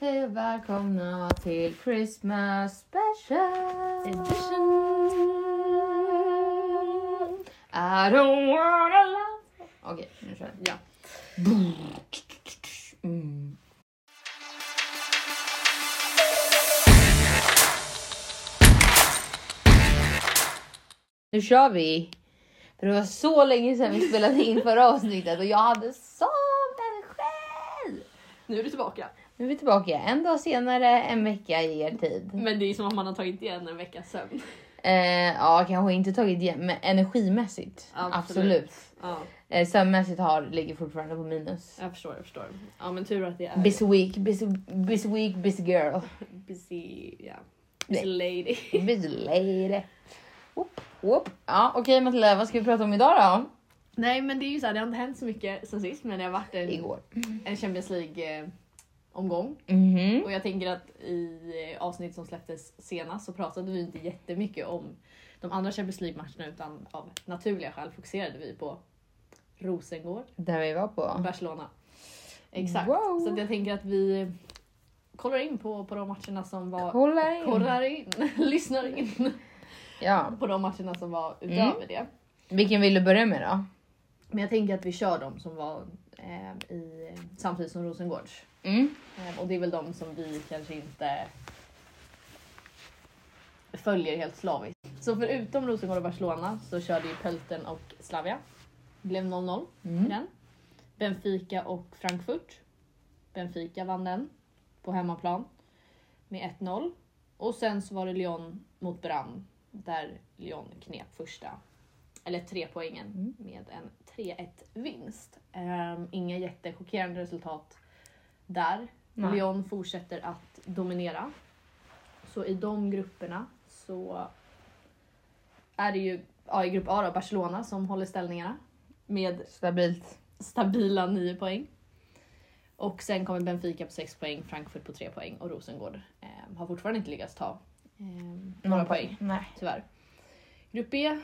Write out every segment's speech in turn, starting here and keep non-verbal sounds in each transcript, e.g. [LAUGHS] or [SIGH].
Hej och välkomna till Christmas special Edition. I don't wanna love Okej, nu kör vi. Ja. Mm. Nu kör vi! För det var så länge sedan vi spelade in förra avsnittet och jag hade sån energi! Nu är du tillbaka. Nu är vi tillbaka en dag senare, en vecka i er tid. Men det är som att man har tagit igen en veckas sömn. Eh, ja, kanske inte tagit igen, men energimässigt. Absolut. Absolut. Ja, Eh, sömnmässigt har, ligger fortfarande på minus. jag förstår, jag förstår. Ja, men tur att det är Busy week, busy, busy week, busy [LAUGHS] girl. busy, ja. Nej. busy lady. busy lady. Whoop, whoop. Ja, okej Matilda, vad ska vi prata om idag Nej, men det är ju så här, det har inte hänt så mycket sen sist, men det har varit då? en, Igår. en Champions League eh, omgång Mhm. och jag tänker att i eh, avsnitt som släpptes senast så pratade vi inte jättemycket om de andra Champions League matcherna utan av naturliga skäl fokuserade vi på Rosengård Där vi var på. Barcelona. Exakt. Wow. Så att jag tänker att vi kollar in på, på de matcherna som var... Kolla in. Kollar in, [LAUGHS] lyssnar in Ja. på de matcherna som var utöver det. Vilken vill du börja med då? Mm. Men jag tänker att vi kör de som var eh, i, samtidigt som Rosengårds. Mm. Eh, och det är väl de som vi kanske inte följer helt slaviskt. Så förutom Rosengård och Barcelona så körde ju Pölten och Slavia. Blev 0-0 i Mm. den. Benfica och Frankfurt. Benfica vann den på hemmaplan med 1-0. Och sen så var det Lyon mot Brann där Lyon knep första, eller tre poängen Mm. med en 3-1 vinst. Ehm, inga jättechockerande resultat där. Nej. Lyon fortsätter att dominera. Så i de grupperna så är det ju ja, i grupp A då, Barcelona som håller ställningarna med Stabilt. stabila 9 poäng. Och sen kommer Benfica på 6 poäng, Frankfurt på 3 poäng och Rosengård eh, har fortfarande inte lyckats ta eh, några poäng, Nej. tyvärr. Grupp B,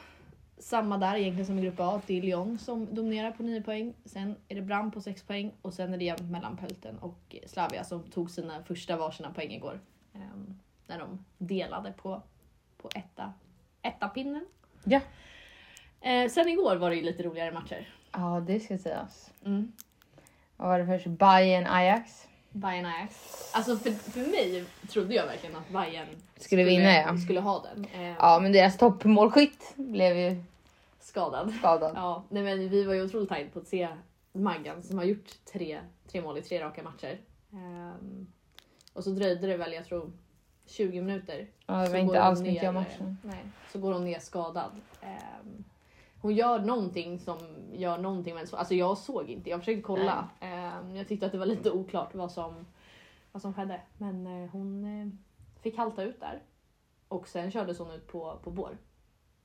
samma där egentligen som i grupp A. Det är Lyon som dominerar på 9 poäng. Sen är det Bram på 6 poäng och sen är det jämnt mellan Pölten och Slavia som tog sina första varsina poäng igår. Eh, när de delade på, på etta, etta-pinnen. Ja. Eh, sen igår var det ju lite roligare matcher. Ja, det ska sägas. Mm. Vad var det först? Bayern Ajax. Bayern Ajax. Alltså för, för mig trodde jag verkligen att Bayern Skulle vinna, ja. skulle ha den. Eh, Ja, men deras toppmålskytt blev ju Skadad. skadad. Ja, nej men vi var ju otroligt taggade på att se Maggan som har gjort tre, tre mål i tre raka matcher. Ehm, och så dröjde det väl, jag tror, 20 minuter. Ja, det Så var går inte hon alls ner- mycket av matchen. Nej, så går hon ner skadad. Ehm, hon gör någonting som gör någonting men så, alltså jag såg inte, jag försökte kolla. Ehm, jag tyckte att det var lite oklart vad som, vad som skedde. Men eh, hon eh, fick halta ut där. Och sen kördes hon ut på, på bår.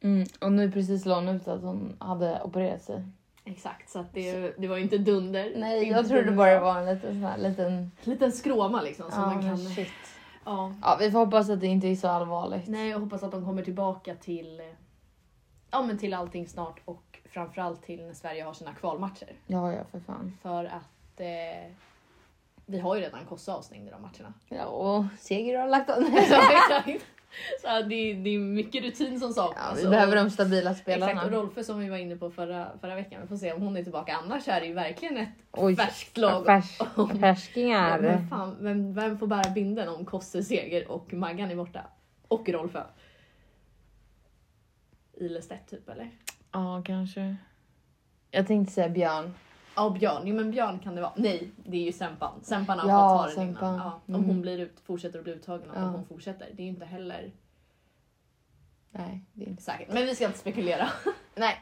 Mm, och nu precis la hon ut att hon hade opererat sig. Exakt, så att det, det var ju inte dunder. Nej, Inte jag trodde dunder. bara det var en liten sån här liten... Liten skråma liksom som Ja, man kan... men shit. Ja. Ja, vi får hoppas att det inte är så allvarligt. Nej, jag hoppas att de kommer tillbaka till, eh, ja, men till allting snart och framförallt till när Sverige har sina kvalmatcher. Ja, ja, för fan. För att eh, vi har ju redan Kosovo avstängd i [LAUGHS] de matcherna. [LAUGHS] Ja, och Seger har [LAUGHS] lagt av. Så, exakt. så att det, är- det är mycket rutin som Ja, saknas. vi behöver Och- de stabila spelarna. Exakt, och Rolfö som vi var inne på förra, förra veckan. Vi får se om hon är tillbaka. Annars är det ju verkligen ett Oj, färskt lag. Färs, Om- [LAUGHS] Ja, färskingar. men fan, vem, vem får bära binden om Kosse Seger och Maggan är borta? Och Rolfö. Ilestedt typ eller? Ja, kanske. Jag tänkte säga Björn. Ja Björn, jo men Björn kan det vara. Nej det är ju Sempan. Sempan har Ja, fått ta den Sempan. innan. Ja, om Mm. hon blir ut, fortsätter att bli uttagen och Ja. om hon fortsätter. Det är ju inte heller Nej, det är inte. säkert. Men vi ska inte spekulera. Nej.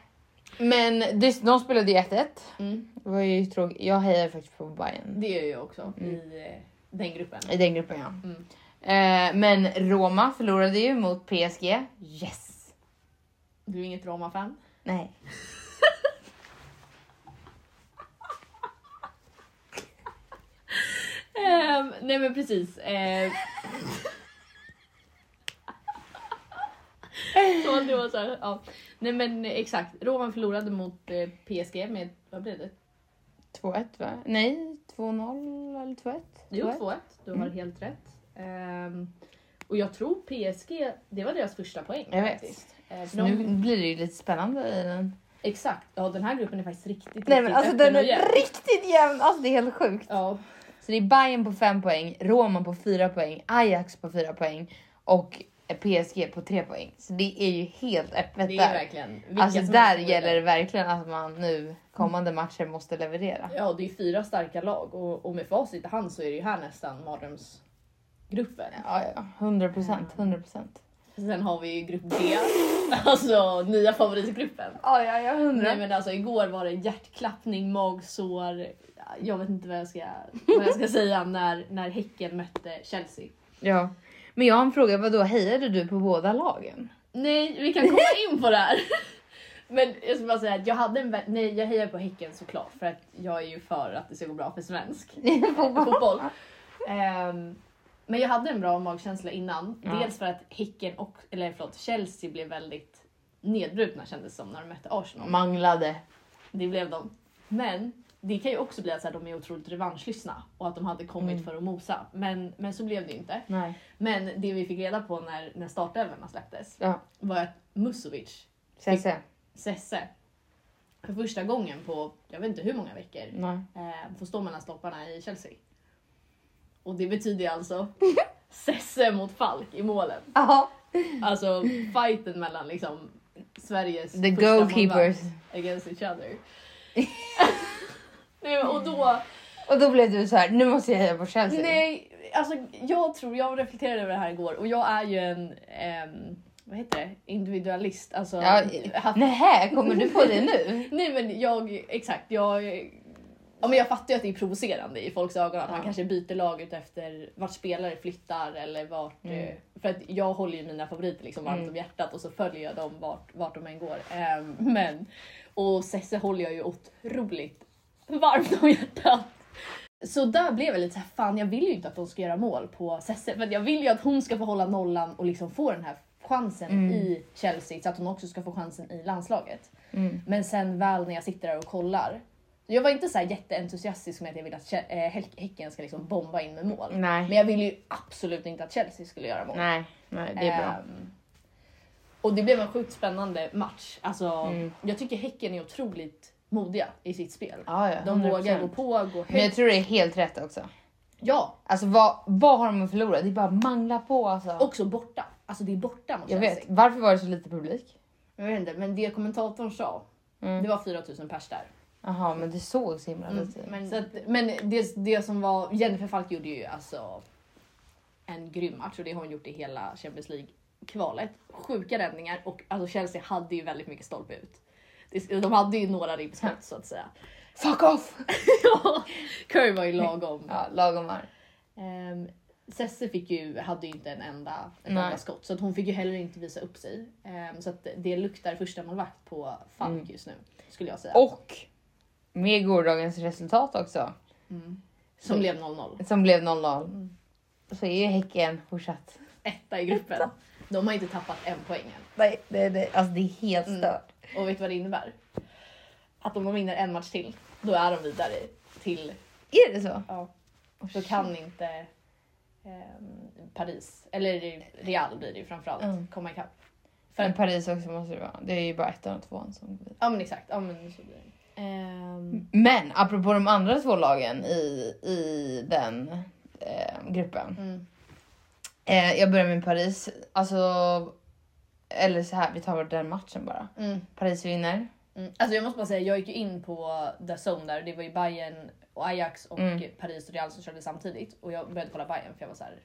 Men det, de spelade ju 1-1. Mm. Det var ju tråkigt. Jag hejar faktiskt på Bayern. Det gör jag också Mm. i eh, den gruppen. I den gruppen ja. Mm. Eh, men Roma förlorade ju mot PSG. Yes! Du är inget Roma-fan? Nej. Ehm, nej men precis. [LAUGHS] Ehm. Så det var så här, ja. Nej men exakt, Roman förlorade mot eh, PSG med, vad blev det? 2-1 va? Nej, 2-0 eller 2-1? Jo, 2-1. 2-1. Du har helt rätt. Ehm, och jag tror PSG, det var deras första poäng. Jag vet. faktiskt. Eh, för Så Nu de, blir det ju lite spännande i den. exakt. Ja, den här gruppen är faktiskt riktigt, Nej men riktigt alltså öppen den och jämn. är riktigt jämn, alltså det är helt sjukt. Ja, Så det är Bayern på 5 poäng, Roma på 4 poäng, Ajax på 4 poäng och PSG på 3 poäng. Så det är ju helt öppet det är där. verkligen. vilka Alltså som där helst går gäller det vidare. verkligen att man nu kommande matcher måste leverera. Ja, det är fyra starka lag och, och med facit i hand så är det ju här nästan mardrömsgruppen. Ja, ja, 100 procent, 100 procent. Sen har vi ju grupp D, [LAUGHS] alltså nya favoritgruppen. Ja, ja, ja, Nej men alltså igår var det hjärtklappning, magsår. Jag vet inte vad jag ska, vad [LAUGHS] jag ska säga när, när Häcken mötte Chelsea. Ja, men jag har en fråga. Vad då hejade du på båda [LAUGHS] lagen? Nej, vi kan komma in på det här. [LAUGHS] Men jag ska bara säga att jag hade en vä- Nej, jag hejar på Häcken såklart för att jag är ju för att det ska gå bra för svensk [LAUGHS] fotboll. Ehm, men jag hade en bra magkänsla innan. Ja. Dels för att Häcken och, eller förlåt, Chelsea blev väldigt nedbrutna kändes det som när de mötte Arsenal. Mm. Manglade. Det blev de. Men det kan ju också bli att så här, de är otroligt revanschlystna och att de hade kommit Mm. för att mosa. Men, men så blev det ju inte. Nej. Men det vi fick reda på när, när startelvorna släpptes Ja, var att Musovic, sen sen. Sesse, för första gången på jag vet inte hur många veckor Nej. eh, får stå mellan stolparna i Chelsea. Och det betyder [LAUGHS] ju alltså Sesse mot Falk i målen. Ja, Alltså fighten mellan liksom Sveriges the första goalkeepers. målvakt against [LAUGHS] each other. nej, men- och då, Och då blev du så här. Nu måste jag heja på Chelsea. nej, alltså jag tror, jag reflekterade över det här igår och jag är ju en, ehm, vad heter det, individualist. Alltså, Ja, haft- Nähä, kommer du på det [LAUGHS] nu? [LAUGHS] nej men jag, exakt, jag, ja, men jag fattar ju att det är provocerande i folks ögon att man Ja. kanske byter lag ut efter vart spelare flyttar eller vart, Mm. eh, för att jag håller ju mina favoriter liksom varmt Mm. om hjärtat och så följer jag dem vart, vart de än går. Ehm, men, och Sesse håller jag ju otroligt varmt om hjärtat. Så där blev jag lite såhär, fan jag vill ju inte att de ska göra mål på Sesse. För att jag vill ju att hon ska få hålla nollan och liksom få den här chansen Mm. i Chelsea så att hon också ska få chansen i landslaget. Mm. Men sen väl när jag sitter där och kollar. Jag var inte så här jätteentusiastisk med att jag vill att Che- eh, Häck- Häcken ska liksom bomba in med mål. Men Nej. jag ville ju absolut inte att Chelsea skulle göra mål. Nej, nej, det är bra. Ehm, och det blev en sjukt spännande match. Alltså, Mm. Jag tycker Häcken är otroligt modiga i sitt spel. Ja, ja, De 100%. vågar gå på, gå Men jag högt. tror det är helt rätt också. Ja, Alltså vad, vad har de att förlora? Det är bara att mangla på alltså. också borta. Alltså det är borta mot jag Chelsea. vet. Varför var det så lite publik? Jag vet inte, men det kommentatorn sa, Mm. det var 4000 pers där. Jaha, men det såg så himla Mm, lite. Men, så att, men det, det som var, Jennifer Falk gjorde ju alltså en grym match och det har hon gjort i hela Champions League-kvalet. Sjuka räddningar och alltså Chelsea hade ju väldigt mycket stolpe ut. Det- De hade ju några ribbskott så att säga. [LAUGHS] Fuck off! Curry var ju lagom. Ja, lagom var. Ehm, Sesse fick ju, hade ju inte en enda, ett Nej. enda skott så att hon fick ju heller inte visa upp sig. Ehm, så att det luktar första målvakt på Falk Mm. just nu skulle jag säga. Och med gårdagens resultat också Mm. Som blev 0-0. som blev 0-0 så är ju Häcken fortsatt. etta i gruppen. De har inte tappat en poäng än. Nej, det, det. Alltså det är helt Mm. stört. Och vet du vad det innebär? Att om de vinner en match till, då är de vidare till... Är det så? Ja, Oh, då shit. kan inte ehm, Paris, eller Real blir det ju framförallt, Mm. komma ikapp. För Men att, Paris också måste det vara. Det är ju bara ettan och tvåan som går vidare. ja men exakt, ja men så blir det. Ehm, Men apropå de andra två lagen i, i den eh, gruppen. mm. Eh, jag börjar med Paris. Alltså, eller så här, vi tar bara den matchen bara. Mm. Paris vinner. Mm. Alltså jag måste bara säga, jag gick ju in på The Zone där. Det var ju Bayern och Ajax och Mm. Paris och Real som körde samtidigt. Och jag började kolla Bayern för jag var såhär...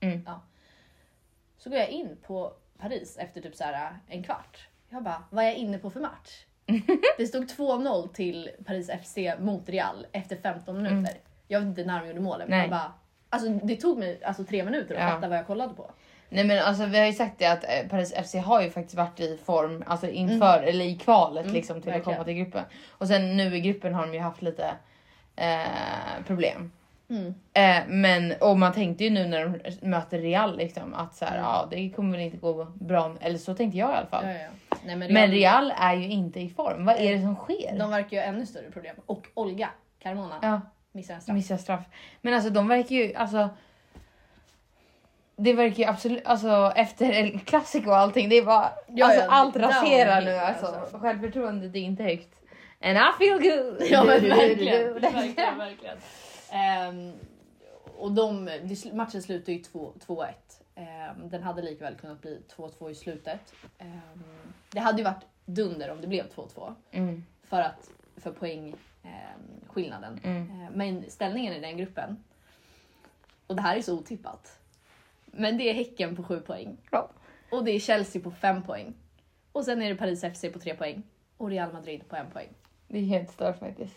Mm. Ja. Så går jag in på Paris efter typ så här en kvart. Jag bara, vad är jag inne på [LAUGHS] för match? det stod 2-0 till Paris FC mot Real efter 15 minuter. Jag vet inte när de gjorde målen men Mm. Nej. jag bara... Alltså det tog mig alltså, tre minuter att Ja. fatta vad jag kollade på. Nej men alltså vi har ju sagt det att eh, Paris FC har ju faktiskt varit i form alltså inför eller i kvalet Mm, liksom till att verkligen. komma till gruppen. Och sen nu i gruppen har de ju haft lite eh, problem. Mm. Eh, men och man tänkte ju nu när de möter Real liksom att så här, Mm. ja det kommer väl inte gå bra. Eller så tänkte jag i alla fall. Ja, ja. Nej, men Real, Men Real är ju inte i form. Vad är det som sker? de verkar ju ha ännu större problem. Och Olga Carmona. Ja. missar en straff. missar straff. Men alltså de verkar ju, alltså. Det verkar ju absolut, alltså efter El Clasico och allting, det är bara, Ja, alltså ja, allt down raserar nu here, alltså. alltså. Självförtroendet är inte högt. And I feel good! [LAUGHS] [LAUGHS] Ja men verkligen. [LAUGHS] verkligen, verkligen. Ehm, och de, det sl- matchen slutade ju 2 2-1. Ehm, den hade likväl kunnat bli 2-2 i slutet. Ehm, det hade ju varit dunder om det blev 2-2 Mm, för, att- för poängskillnaden. mm. Eh, Men ställningen i den gruppen, och det här är så otippat, men det är Häcken på 7 poäng. Ja. Och det är Chelsea på 5 poäng. Och sen är det Paris FC på 3 poäng. Och Real Madrid på 1 poäng. Det är helt stört faktiskt.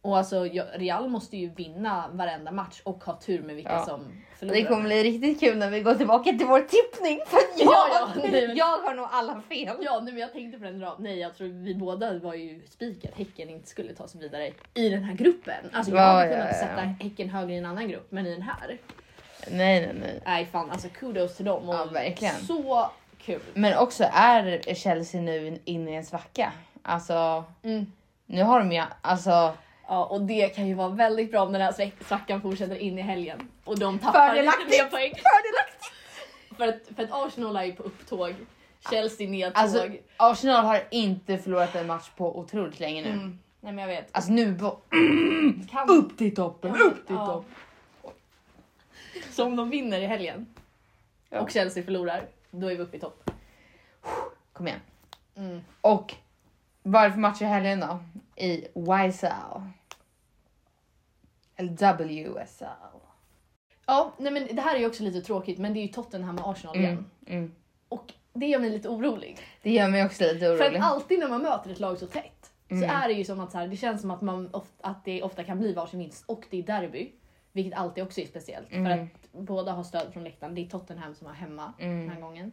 Och alltså ja, Real måste ju vinna varenda match och ha tur med vilka Ja. som förlorar. Det kommer bli riktigt kul när vi går tillbaka till vår tippning för att jag, [LAUGHS] Ja, ja, nej, men- jag har nog alla fel. Ja, nej, men jag tänkte på den rad. Nej, jag tror vi båda var ju spikat Häcken inte skulle ta sig vidare i den här gruppen. Alltså jag Ja, hade ja, kunnat ja, ja. sätta Häcken högre i en annan grupp, men i den här. Nej, nej, nej. Nej, fan alltså kudos till dem. Och Ja, verkligen. Så kul. Men också är Chelsea nu inne i en svacka. Alltså, Mm. nu har de ju, alltså. Ja, och det kan ju vara väldigt bra om den här svack- svackan fortsätter in i helgen och de tappar lite Fördelaktigt! mer poäng. För att, för att Arsenal är ju på upptåg, Chelsea nedtåg. Alltså, Arsenal har inte förlorat en match på otroligt länge nu. mm. Nej men jag vet. Alltså nu... bo- Kan... Upp till toppen, upp till Ja. toppen. Så om de vinner i helgen Ja. och Chelsea förlorar, då är vi uppe i topp. Kom igen. Mm. Och vad är det för match i helgen då? I YSL. Eller WSL. Ja, nej men det här är ju också lite tråkigt men det är ju Tottenham och Arsenal Mm, igen. mm. Och det gör mig lite orolig. Det gör mig också lite För orolig. att alltid när man möter ett lag så tätt Mm. så är det ju som att så här, det känns som att, man ofta, att det ofta kan bli varsin vinst och det är derby. Vilket alltid också är speciellt för Mm. att båda har stöd från läktaren. Det är Tottenham som har hemma den här Mm. gången.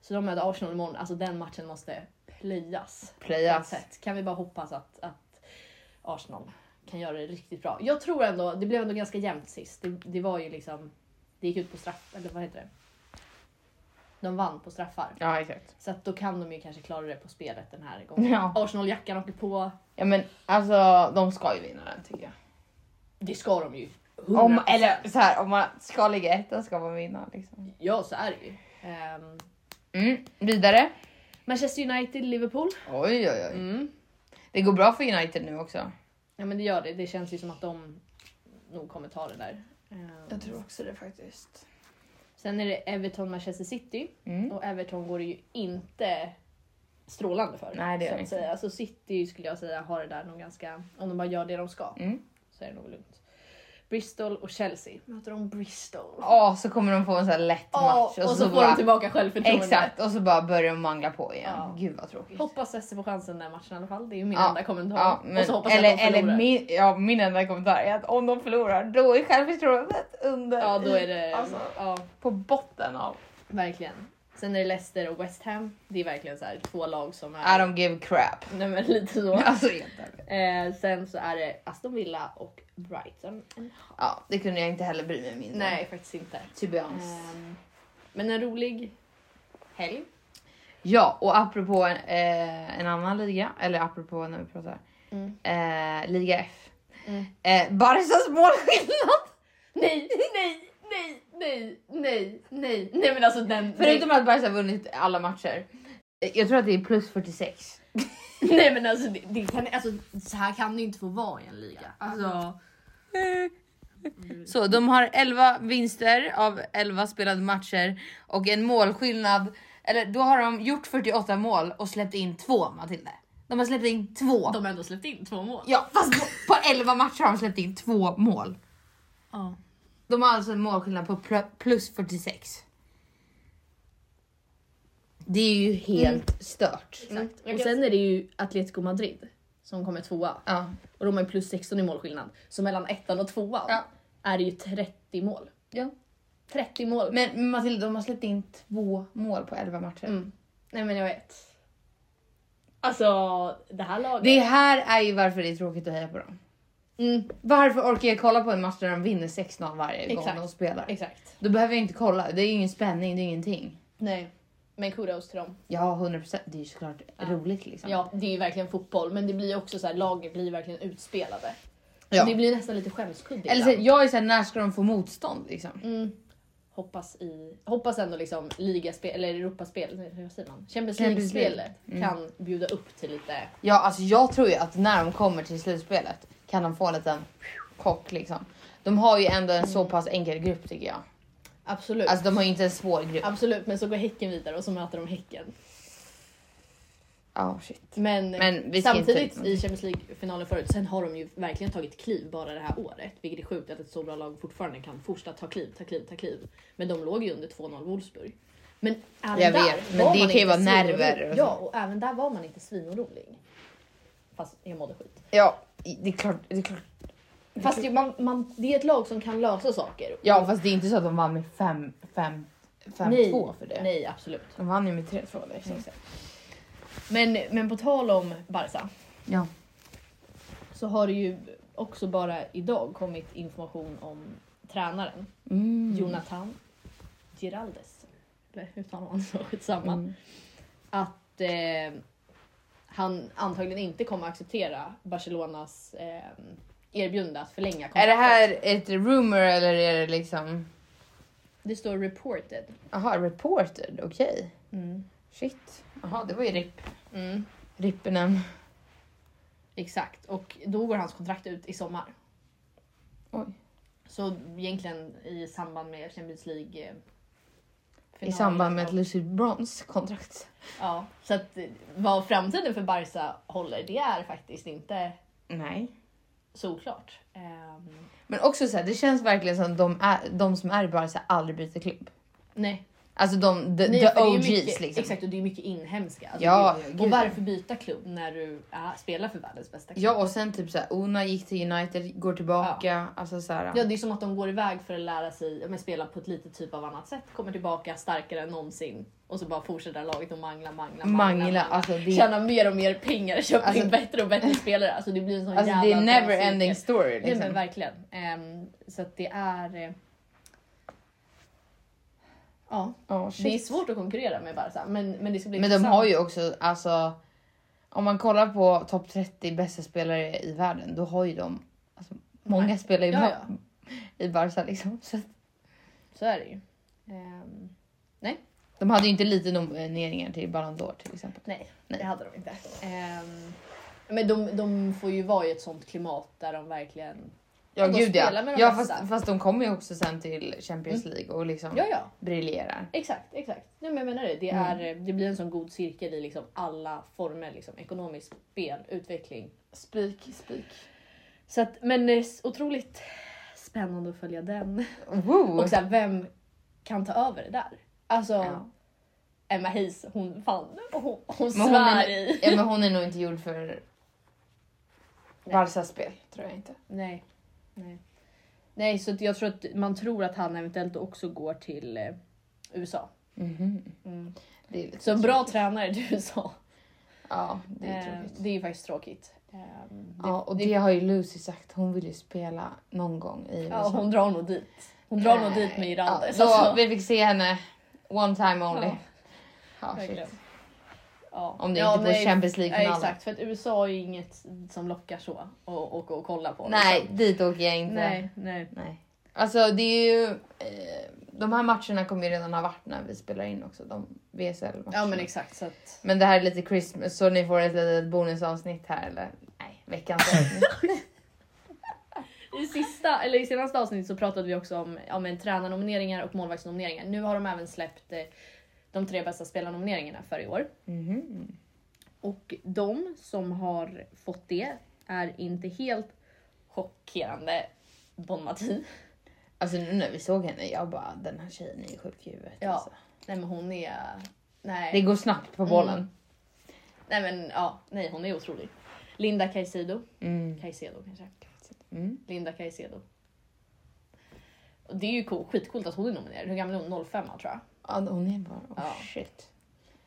Så de möter Arsenal imorgon. Alltså den matchen måste plöjas. Playas. på något sätt. Kan vi bara hoppas att, att Arsenal kan göra det riktigt bra. Jag tror ändå, det blev ändå ganska jämnt sist. Det, det var ju liksom, det gick ut på straff, eller vad heter det? De vann på straffar. Ja exakt. Så att då kan de ju kanske klara det på spelet den här gången. Ja. Arsenal-jackan åker på. ja men alltså de ska ju vinna den tycker jag. Det ska de ju. Om, 100%. eller så här, om man ska ligga etta ska man vinna. Liksom. Ja, så är det ju. Ehm, Mm. Vidare. Manchester United, Liverpool. Oj oj oj. Mm. Det går bra för United nu också. Ja men det gör det. Det känns ju som att de nog kommer ta det där. Ehm, också det faktiskt. Sen är det Everton, Manchester City. Mm. Och Everton går det ju inte strålande för. Nej, det gör det så att inte. säga. Alltså City skulle jag säga har det där nog ganska, om de bara gör det de ska Mm. så är det nog lugnt. Bristol och Chelsea. Möter de Bristol? Ja, så kommer de få en sån här lätt Ja, match. alltså, och, så, får bara, de tillbaka självförtroende. Exakt, och så bara börjar de mangla på igen. Ja. Gud vad tråkigt. Hoppas Esse får chansen den matchen i alla fall. Det är ju min Ja, enda kommentar. Ja, men, och så hoppas jag eller att de eller förlorar. min, ja, min enda kommentar är att om de förlorar då är självförtroendet under. Ja, då är det... Alltså. Ja, På botten av. verkligen. Sen är det Leicester och West Ham. Det är verkligen så här två lag som I är... don't give a crap. Nej, men lite så. Alltså, helt ärligt. Eh, sen så är det Aston Villa och Brighton. ja, det kunde jag inte heller bry mig mindre. Nej, faktiskt inte. To be honest. Ehm, men en rolig [LAUGHS] helg. Ja, och apropå en, eh, en annan liga, eller apropå när vi pratar, eh, liga F. Mm. Eh, Barcas målskillnad! Nej, nej, nej, nej, nej, nej, nej men alltså den... Förutom att Barca har vunnit alla matcher. Eh, Jag tror att det är plus 46. Nej men alltså, det, det kan, alltså så här kan det ju inte få vara i en liga. Alltså, Så de har 11 vinster av 11 spelade matcher och en målskillnad. Eller då har de gjort 48 mål och släppt in två Matilda. De har släppt in två. de har ändå släppt in två mål. Ja, fast på, på 11 matcher har de släppt in två mål. Ja. De har alltså en målskillnad på pl- plus 46. Det är ju helt stört. Mm. Och Mm. sen är det ju Atletico Madrid som kommer tvåa. Ja. Och de har ju plus 16 i målskillnad. Så mellan ettan och tvåan Ja. är det ju 30 mål. ja. 30 mål. Men Matilda, de har släppt in två mål på 11 matcher. Mm. Nej men jag vet. Alltså det här laget. Det här är ju varför det är tråkigt att heja på dem. Mm, Varför orkar jag kolla på en match där de vinner 6-0 varje gång Exakt. de spelar? exakt. Då behöver jag inte kolla. Det är ju ingen spänning, det är ingenting. Nej. Men kudos till dem. Ja, 100%. Det är ju såklart Ja. roligt liksom. Ja det är ju verkligen fotboll men det blir ju också så här lagen blir verkligen utspelade. Ja. Det blir nästan lite skämskudde. Eller så, ibland. jag är såhär, när ska de få motstånd liksom? mm. hoppas, i, hoppas ändå liksom ligaspel, eller Europaspel, nej, vad säger man? Champions Champions League-spelet kan bjuda upp till lite... Ja, alltså jag tror ju att när de kommer till slutspelet kan de få en liten kock liksom. De har ju ändå en så pass enkel grupp tycker jag. Absolut. Alltså de har ju inte en svår grupp. Absolut, men så går Häcken vidare och så möter de Häcken. Ja, shit. Men, Men vi ska samtidigt inte- i Champions League-finalen förut, sen har de ju verkligen tagit kliv bara det här året. Vilket är sjukt att ett så bra lag fortfarande kan fortsätta ta kliv, ta kliv, ta kliv. Men de låg ju under 2-0 Wolfsburg. Men även Jag där vet, men var det man kan ju inte vara svinorolig. nerver och så. Ja, och även där var man inte svinorolig. Fast jag mådde skit. Ja, det är klart. Det är klart. Fast ju, man, man, det är ett lag som kan lösa saker. Ja, fast det är inte så att de vann med 5-2 för det. Mm. Nej, absolut. De vann ju med 3-2 där. så att säga. Men, men på tal om Barca. Ja. så har det ju också bara idag kommit information om tränaren Mm. Jonathan Giraldes. Eller hur talar man så? Skitsamma. Mm. Att eh, han antagligen inte kommer acceptera Barcelonas eh, erbjudande att förlänga kontraktet. Är det här ett rumor eller är det liksom... Det står reported. Jaha, reported. Okej. Mm. Shit. Jaha, det var ju RIP. Rippenen. Exakt. Och då går hans kontrakt ut i sommar. Oj. Så egentligen i samband med Champions League. eh, I finalen samband med och- ett Lucid Bronze kontrakt. Ja, så att eh, vad framtiden för Barca håller, det är faktiskt inte Nej. såklart. Ehm, Men också så här, det känns verkligen som de, är, de som är i Barca aldrig byter klubb. nej. Alltså de, the, nej the för det är ju OGs mycket, liksom. Exakt, och det är mycket inhemska. Alltså, Ja, det är- ja, gud. och varför byta klubb när du äh, spelar för världens bästa klubb? Ja och sen typ så här, Ona gick till United, går tillbaka. Alltså så här, Ja, det är som att de går iväg för att lära sig, ja, men spela på ett lite typ av annat sätt, kommer tillbaka starkare än någonsin och så bara fortsätter laget och mangla, mangla, mangla. mangla. Alltså det, Tjäna mer och mer pengar, köpa Alltså- in bättre och bättre spelare. Alltså det blir en sån alltså, jävla det är bra never cirkel. ending story. Nej men Liksom. verkligen. Ehm, så att det är... eh, Ja, Ja, det är Oh, shit. svårt att konkurrera med Barca. Men, men det ska bli men de intressant. har ju också alltså. Om man kollar på topp 30 bästa spelare i världen då har ju de alltså, många Nej. spelare i, Ja, Bar- i Barca liksom. Så att Så är det ju. Ehm, de hade ju inte lite nomineringar till Ballon d'Or till exempel. nej, Nej. det hade de inte. Ehm, men de, de får ju vara i ett sånt klimat där de verkligen... Ja, de gud spelar ja. med de ja bästa. fast, fast de kommer ju också sen till Champions League och liksom Ja, ja. briljerar. Exakt, exakt. Nej, men jag menar det. Det, är, det blir en sån god cirkel i liksom alla former. Liksom, ekonomiskt spel, utveckling. Spik, spik. Så att, men det är s- otroligt spännande att följa den. Woo. Och så här, vem kan ta över det där? Alltså Ja. Emma Hayes, hon fan, hon, hon Men svär hon, är, i. ja, men hon är nog inte gjord för Barcas spel, tror jag inte. Nej. Nej. Nej, så att jag tror att man tror att han eventuellt också går till eh, USA. Mm. Det är lite Så en bra tråkigt. tränare till USA. Ja, det är Eh, tråkigt. det är ju faktiskt tråkigt. Ehm, det, Ja, och det har ju Lucy sagt. Hon vill ju spela någon gång i ja, USA. hon drar nog dit. Hon drar nog Nej. dit med Irlandes. Ja, då, alltså. Vi fick se henne one time only. Ja. Ja. shit. Verkligen. Ja. Om det Ja, inte nej. går Champions Nej, League-finalen. exakt, för att USA är ju inget som lockar så att och, och, och kolla på. Nej, liksom. dit åker jag inte. nej, nej. Nej. Alltså det är ju... Eh, de här matcherna kommer ju redan ha varit när vi spelar in också. De VSL-matcherna. Ja men exakt så att. Men det här är lite Christmas så ni får ett litet bonusavsnitt här eller? Nej, veckans [LAUGHS] avsnitt. I, sista, eller I senaste avsnittet så pratade vi också om, om en tränarnomineringar och målvaktsnomineringar. Nu har de även släppt eh, de tre bästa spelarnomineringarna för i år. Mhm. Och de som har fått det är inte helt chockerande Bon Mati. Alltså nu när vi såg henne, jag bara den här tjejen är ju sjuk i huvudet. Ja. Alltså. Nej men hon är... Nej. Det går snabbt på bollen. nej men ja, nej hon är otrolig. Linda Caicedo. Mm. Caicedo kanske. Mm. Linda Caicedo. Och det är ju cool, skitcoolt att hon är nominerad. Hur gammal är hon? 05 tror jag. Ja, hon är bara oh, Ja. shit.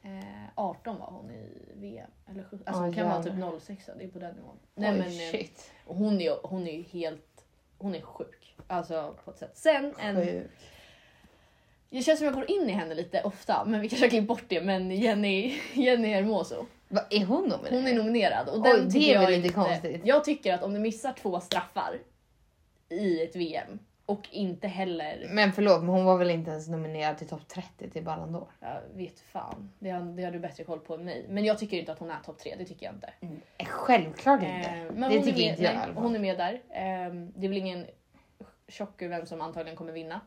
Eh, 18 var hon i VM. Eller sju. Alltså Ja, hon kan vara jävlar. typ 06, det är på den nivån. Nej, Oj, men, eh, shit. och hon, är, ju- hon är ju helt... Hon är sjuk. Alltså på ett sätt. Sen en... Sjuk. Det känns som jag går in i henne lite ofta men vi kanske har klippt bort det. Men [LAUGHS] Jenny, Jenny Hermoso. Va, är hon nominerad? Hon är nominerad. Och Oj, den det tycker är väl jag lite inte- konstigt. Jag tycker att om du missar två straffar i ett VM och inte heller... Men förlåt, men hon var väl inte ens nominerad till topp 30 till Ballon d'Or? Jag vet fan, det har, det har du bättre koll på än mig. Men jag tycker inte att hon är topp tre, det tycker jag inte. Eh, Självklart inte. Eh, men det hon tycker är med, inte jag i nej, alla fall. Hon är med där. Eh, det är väl ingen tjocker vem som antagligen kommer vinna.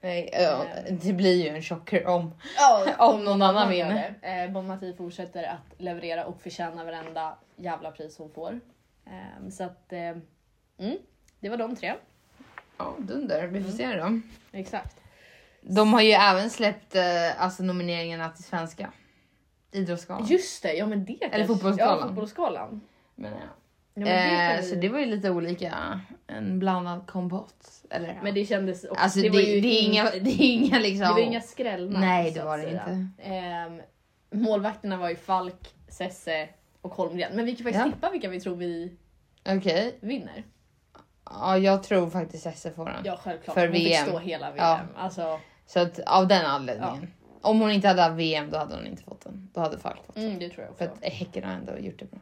Nej, ja, det blir ju en chocker om. [LAUGHS] om någon annan gör vinner. det. Eh, Bon Mati fortsätter att leverera och förtjäna varenda jävla pris hon får. Eh, så att, eh, mm, det var de tre. Ja, dunder. Mm. Vi får se då. Exakt. De har ju även släppt eh, alltså nomineringarna till svenska. Idrottsgalan. Just det, ja men det kanske- fotbollsskalan. Ja, fotbollsskalan. Men, ja. Ja, men, det eh, kan så vi- det var ju lite olika. En blandad kompott. Eller? men det kändes också, alltså det, det, det, var ju är inga, [LAUGHS] det är inga liksom... [LAUGHS] det var inga skrällnamn. Nej, så det att var det säga. inte. Ehm, målvakterna var ju Falk, Sesse och Holmgren. Men vi kan faktiskt Ja. tippa vilka vi tror vi Okej. vinner. Ja, jag tror faktiskt Esse får den. Ja självklart, För hon fick VM. stå hela VM. Ja. Alltså, Så att av den anledningen. Om hon inte hade haft VM då hade hon inte fått den. Då hade Falk fått den. mm, det tror jag också. För att Häcken har ändå gjort det bra.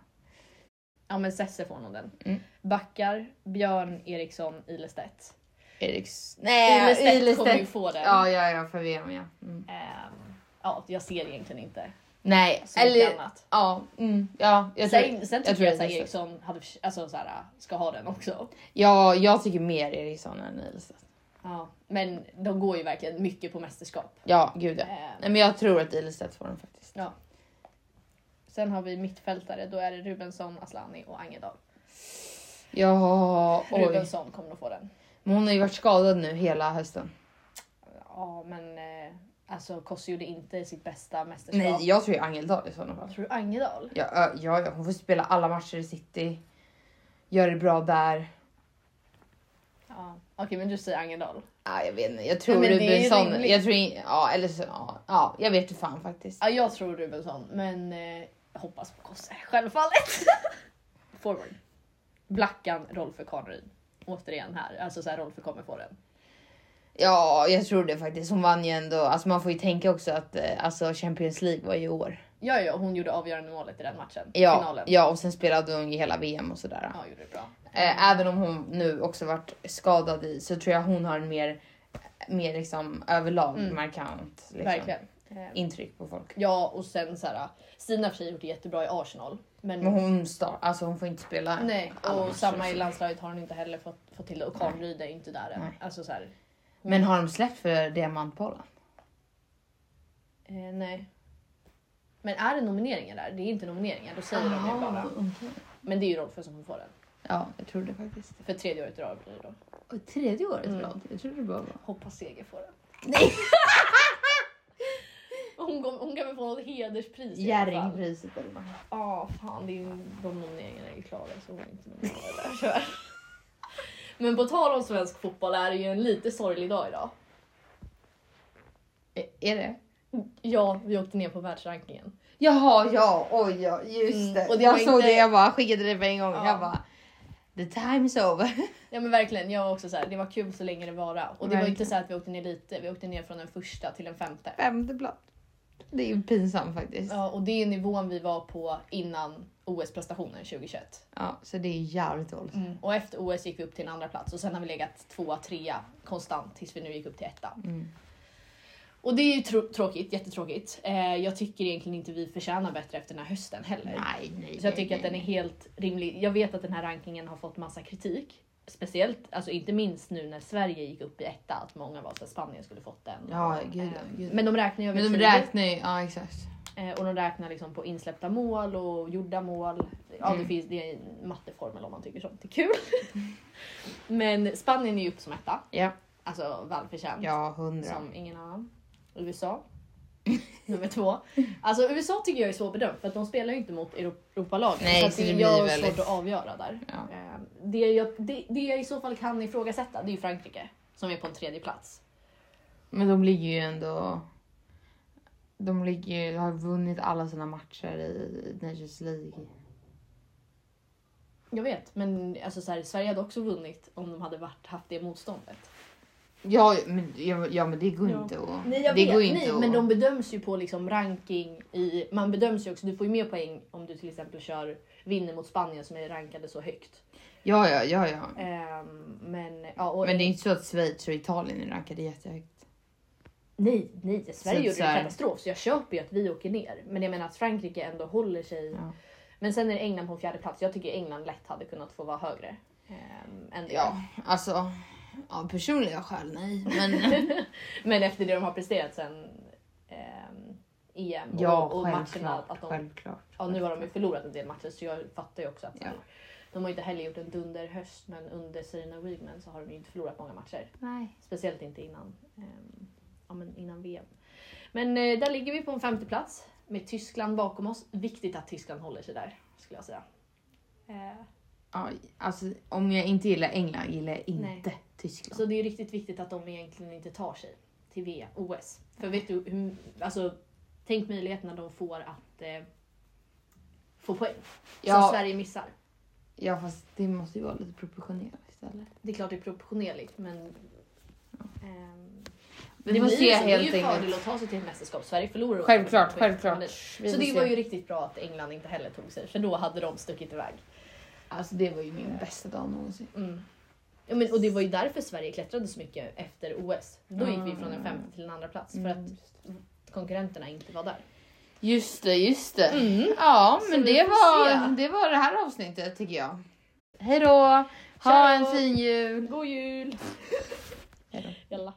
Ja men Sesse får nog den. Mm. Backar, Björn Eriksson, Ilestedt. Eriks... Ilestedt, Nej, kommer ju Eh, Ilestedt. få den. Ja, ja, ja, för VM ja. Mm. Ehm, ja, jag ser egentligen inte Nej, så mycket eller... annat. Ja, mm, ja, jag tror, sen, sen jag tycker tror jag, det att så är här, Ilestedt. Eriksson hade, förs- alltså, så här, ska ha den också. Ja, jag tycker mer Eriksson än Ilestedt. Ja. Men de går ju verkligen mycket på mästerskap. Ja, gud ja. Ehm, Nej, men jag tror att Ilestedt får den faktiskt. Ja. Sen har vi mittfältare, då är det Rubensson, Aslani och Angedal. Ja, oj. Rubensson kommer att få den. Men hon har ju varit skadad nu hela hösten. Ja, men eh, alltså Kossi gjorde inte sitt bästa mästerskap. Nej, jag tror ju Angeldal i sådana fall. Tror du Angedal? Ja, ö- ja, ja, hon får spela alla matcher i city. Gör det bra där. Ja. Okej, men du säger Angedal. Ja, jag vet inte, jag Ja, tror men det är ju Rubensson. rimligt. Jag tror in, ja, eller så, ja, ja, jag vet ju fan faktiskt. Ja, jag tror Rubensson, men eh, jag hoppas på Kosse. Självfallet! [LAUGHS] Forward. Blackan, Rolfö Kaneryd. Återigen här, alltså så här, Rolfö kommer få den. Ja, jag tror det faktiskt. Hon vann ju ändå. Alltså man får ju tänka också att eh, alltså Champions League var ju i år. Ja, ja, hon gjorde avgörande målet i den matchen. Ja, Finalen. ja, och sen spelade hon ju hela VM och sådär. ja, gjorde det bra. Eh, även om hon nu också varit skadad i så tror jag hon har en mer, mer liksom överlag Mm. markant liksom, Verkligen. Eh, intryck på folk. Ja och sen så här, Stina har för sig gjort det jättebra i Arsenal. Men, Men hon, star, alltså hon får inte spela. nej, alla och matcher, samma i så. landslaget har hon inte heller fått, fått till det. Och Karin är inte där än. Nej. Alltså, så här, Men har de släppt för Diamantbollen? eh, nej. Men är det nomineringar där? Det är inte nomineringar, då säger de det bara. Men det är ju Rolfö som får den. Ja, jag tror det faktiskt. För tredje året i rad blir det då. Och tredje året Mm. rad? Jag trodde det bara var... Hoppas Seger får den. Nej! [LAUGHS] Hon, kom, hon kan väl få något hederspris i alla fall. Jerringpriset eller vad? Ja, fan det är ju, de nomineringarna är ju klara så hon är inte nominerad där tyvärr. Men på tal om svensk fotboll är det ju en lite sorglig dag idag. Ä- Eh, Är det? Ja, vi åkte ner på världsrankingen. Jaha, ja, oj ja, Mm, just det. och det var jag såg inte- det, jag bara skickade det på en gång. Ja. Jag bara... The time is over. [LAUGHS] Ja men verkligen, jag var också så här, det var kul så länge det vara. Och det var ju inte Verkligen. så här att vi åkte ner lite, vi åkte ner från den första till den femte. Femte plats. Det är ju pinsamt faktiskt. Ja, och det är nivån vi var på innan OS-prestationen 2021. Ja, så det är jävligt dåligt. Och efter OS gick vi upp till en andra plats och sen har vi legat tvåa, trea konstant tills vi nu gick upp till etta. Mm. Och det är ju tr- tråkigt, jättetråkigt. Eh, jag tycker egentligen inte vi förtjänar bättre efter den här hösten heller. Nej, nej, Så jag tycker att den är helt rimlig. Jag vet att den här rankingen har fått massa kritik. Speciellt, alltså inte minst nu när Sverige gick upp i etta, att många var så att Spanien skulle fått den. Ja, gud, ja, Eh, gud. Men de räknar ju över Men de tid. räknar ju, ja exakt. Eh, Och de räknar liksom på insläppta mål och gjorda mål. Ja, det, Mm. finns, det är en matteformel om man tycker sånt är kul. [LAUGHS] Men Spanien är ju upp som etta, Ja, alltså välförtjänt. ja hundra. Som ingen annan. USA. [LAUGHS] Nummer två. Alltså USA tycker jag är svårbedömt för att de spelar ju inte mot Euro- Europalagen. Nej, så att så det det är blir jag väldigt- svårt att avgöra där. Ja. Eh, Det, jag, det, det jag i så fall kan ifrågasätta det är ju Frankrike som är på en tredje plats. Men de ligger ju ändå... De ligger ju, har vunnit alla sina matcher i Nations League. Jag vet, men alltså så här, Sverige hade också vunnit om de hade varit, haft det motståndet. Ja men, ja, ja, men det går Ja. inte att... Nej, jag det vet. går Nej, att- men de bedöms ju på liksom ranking i... Man bedöms ju också, du får ju mer poäng om du till exempel kör vinner mot Spanien som är rankade så högt. Ja, ja, ja, ja. Ehm, men ja, och, Men det är inte så att Schweiz och Italien är rankade jättehögt. Nej, nej, Sverige att gjorde så ju här- katastrof så jag köper ju att vi åker ner. Men jag menar att Frankrike ändå håller sig. Ja. Men sen är det England på fjärde plats. Jag tycker England lätt hade kunnat få vara högre. ehm, än det. Ja, alltså. Av personliga skäl, nej. Men [LAUGHS] Men efter det de har presterat sen ehm, EM ja, och, och matcherna. självklart. Att de, självklart. ja, nu har de ju förlorat en del matcher så jag fattar ju också att så Ja. här, de har inte heller gjort en dunderhöst men under Serena Wigman så har de ju inte förlorat många matcher. Nej. Speciellt inte innan, ehm, ja, men innan VM. Men eh, där ligger vi på en femte plats med Tyskland bakom oss. Viktigt att Tyskland håller sig där skulle jag säga. Eh, Ja, alltså, om jag inte gillar England gillar jag inte Nej. Tyskland. Så det är ju riktigt viktigt att de egentligen inte tar sig till VM, OS. För vet du hur, alltså, tänk möjligheterna de får att eh, få poäng. Ja. Som Sverige missar. Ja, fast det måste ju vara lite proportionellt istället. Det är klart det är proportionerligt men... ehm, Vi det, får blir ju se så, det är helt ju en fördel enkelt. att ta sig till ett mästerskap. Sverige förlorar Självklart, också poäng. självklart. Vi Så får det se. var ju riktigt bra att England inte heller tog sig för då hade de stuckit iväg. Alltså det var ju min bästa dag någonsin. Ja, men, och det var ju därför Sverige klättrade så mycket efter OS. Då gick vi Mm. från en femte till en andra plats för Mm. att konkurrenterna inte var där. Just det, just det. Mm. Ja, Så men vi det får var, se. det var det här avsnittet tycker jag. Hej då! Ha Ciao. en fin jul! God jul! Hej då. Jalla.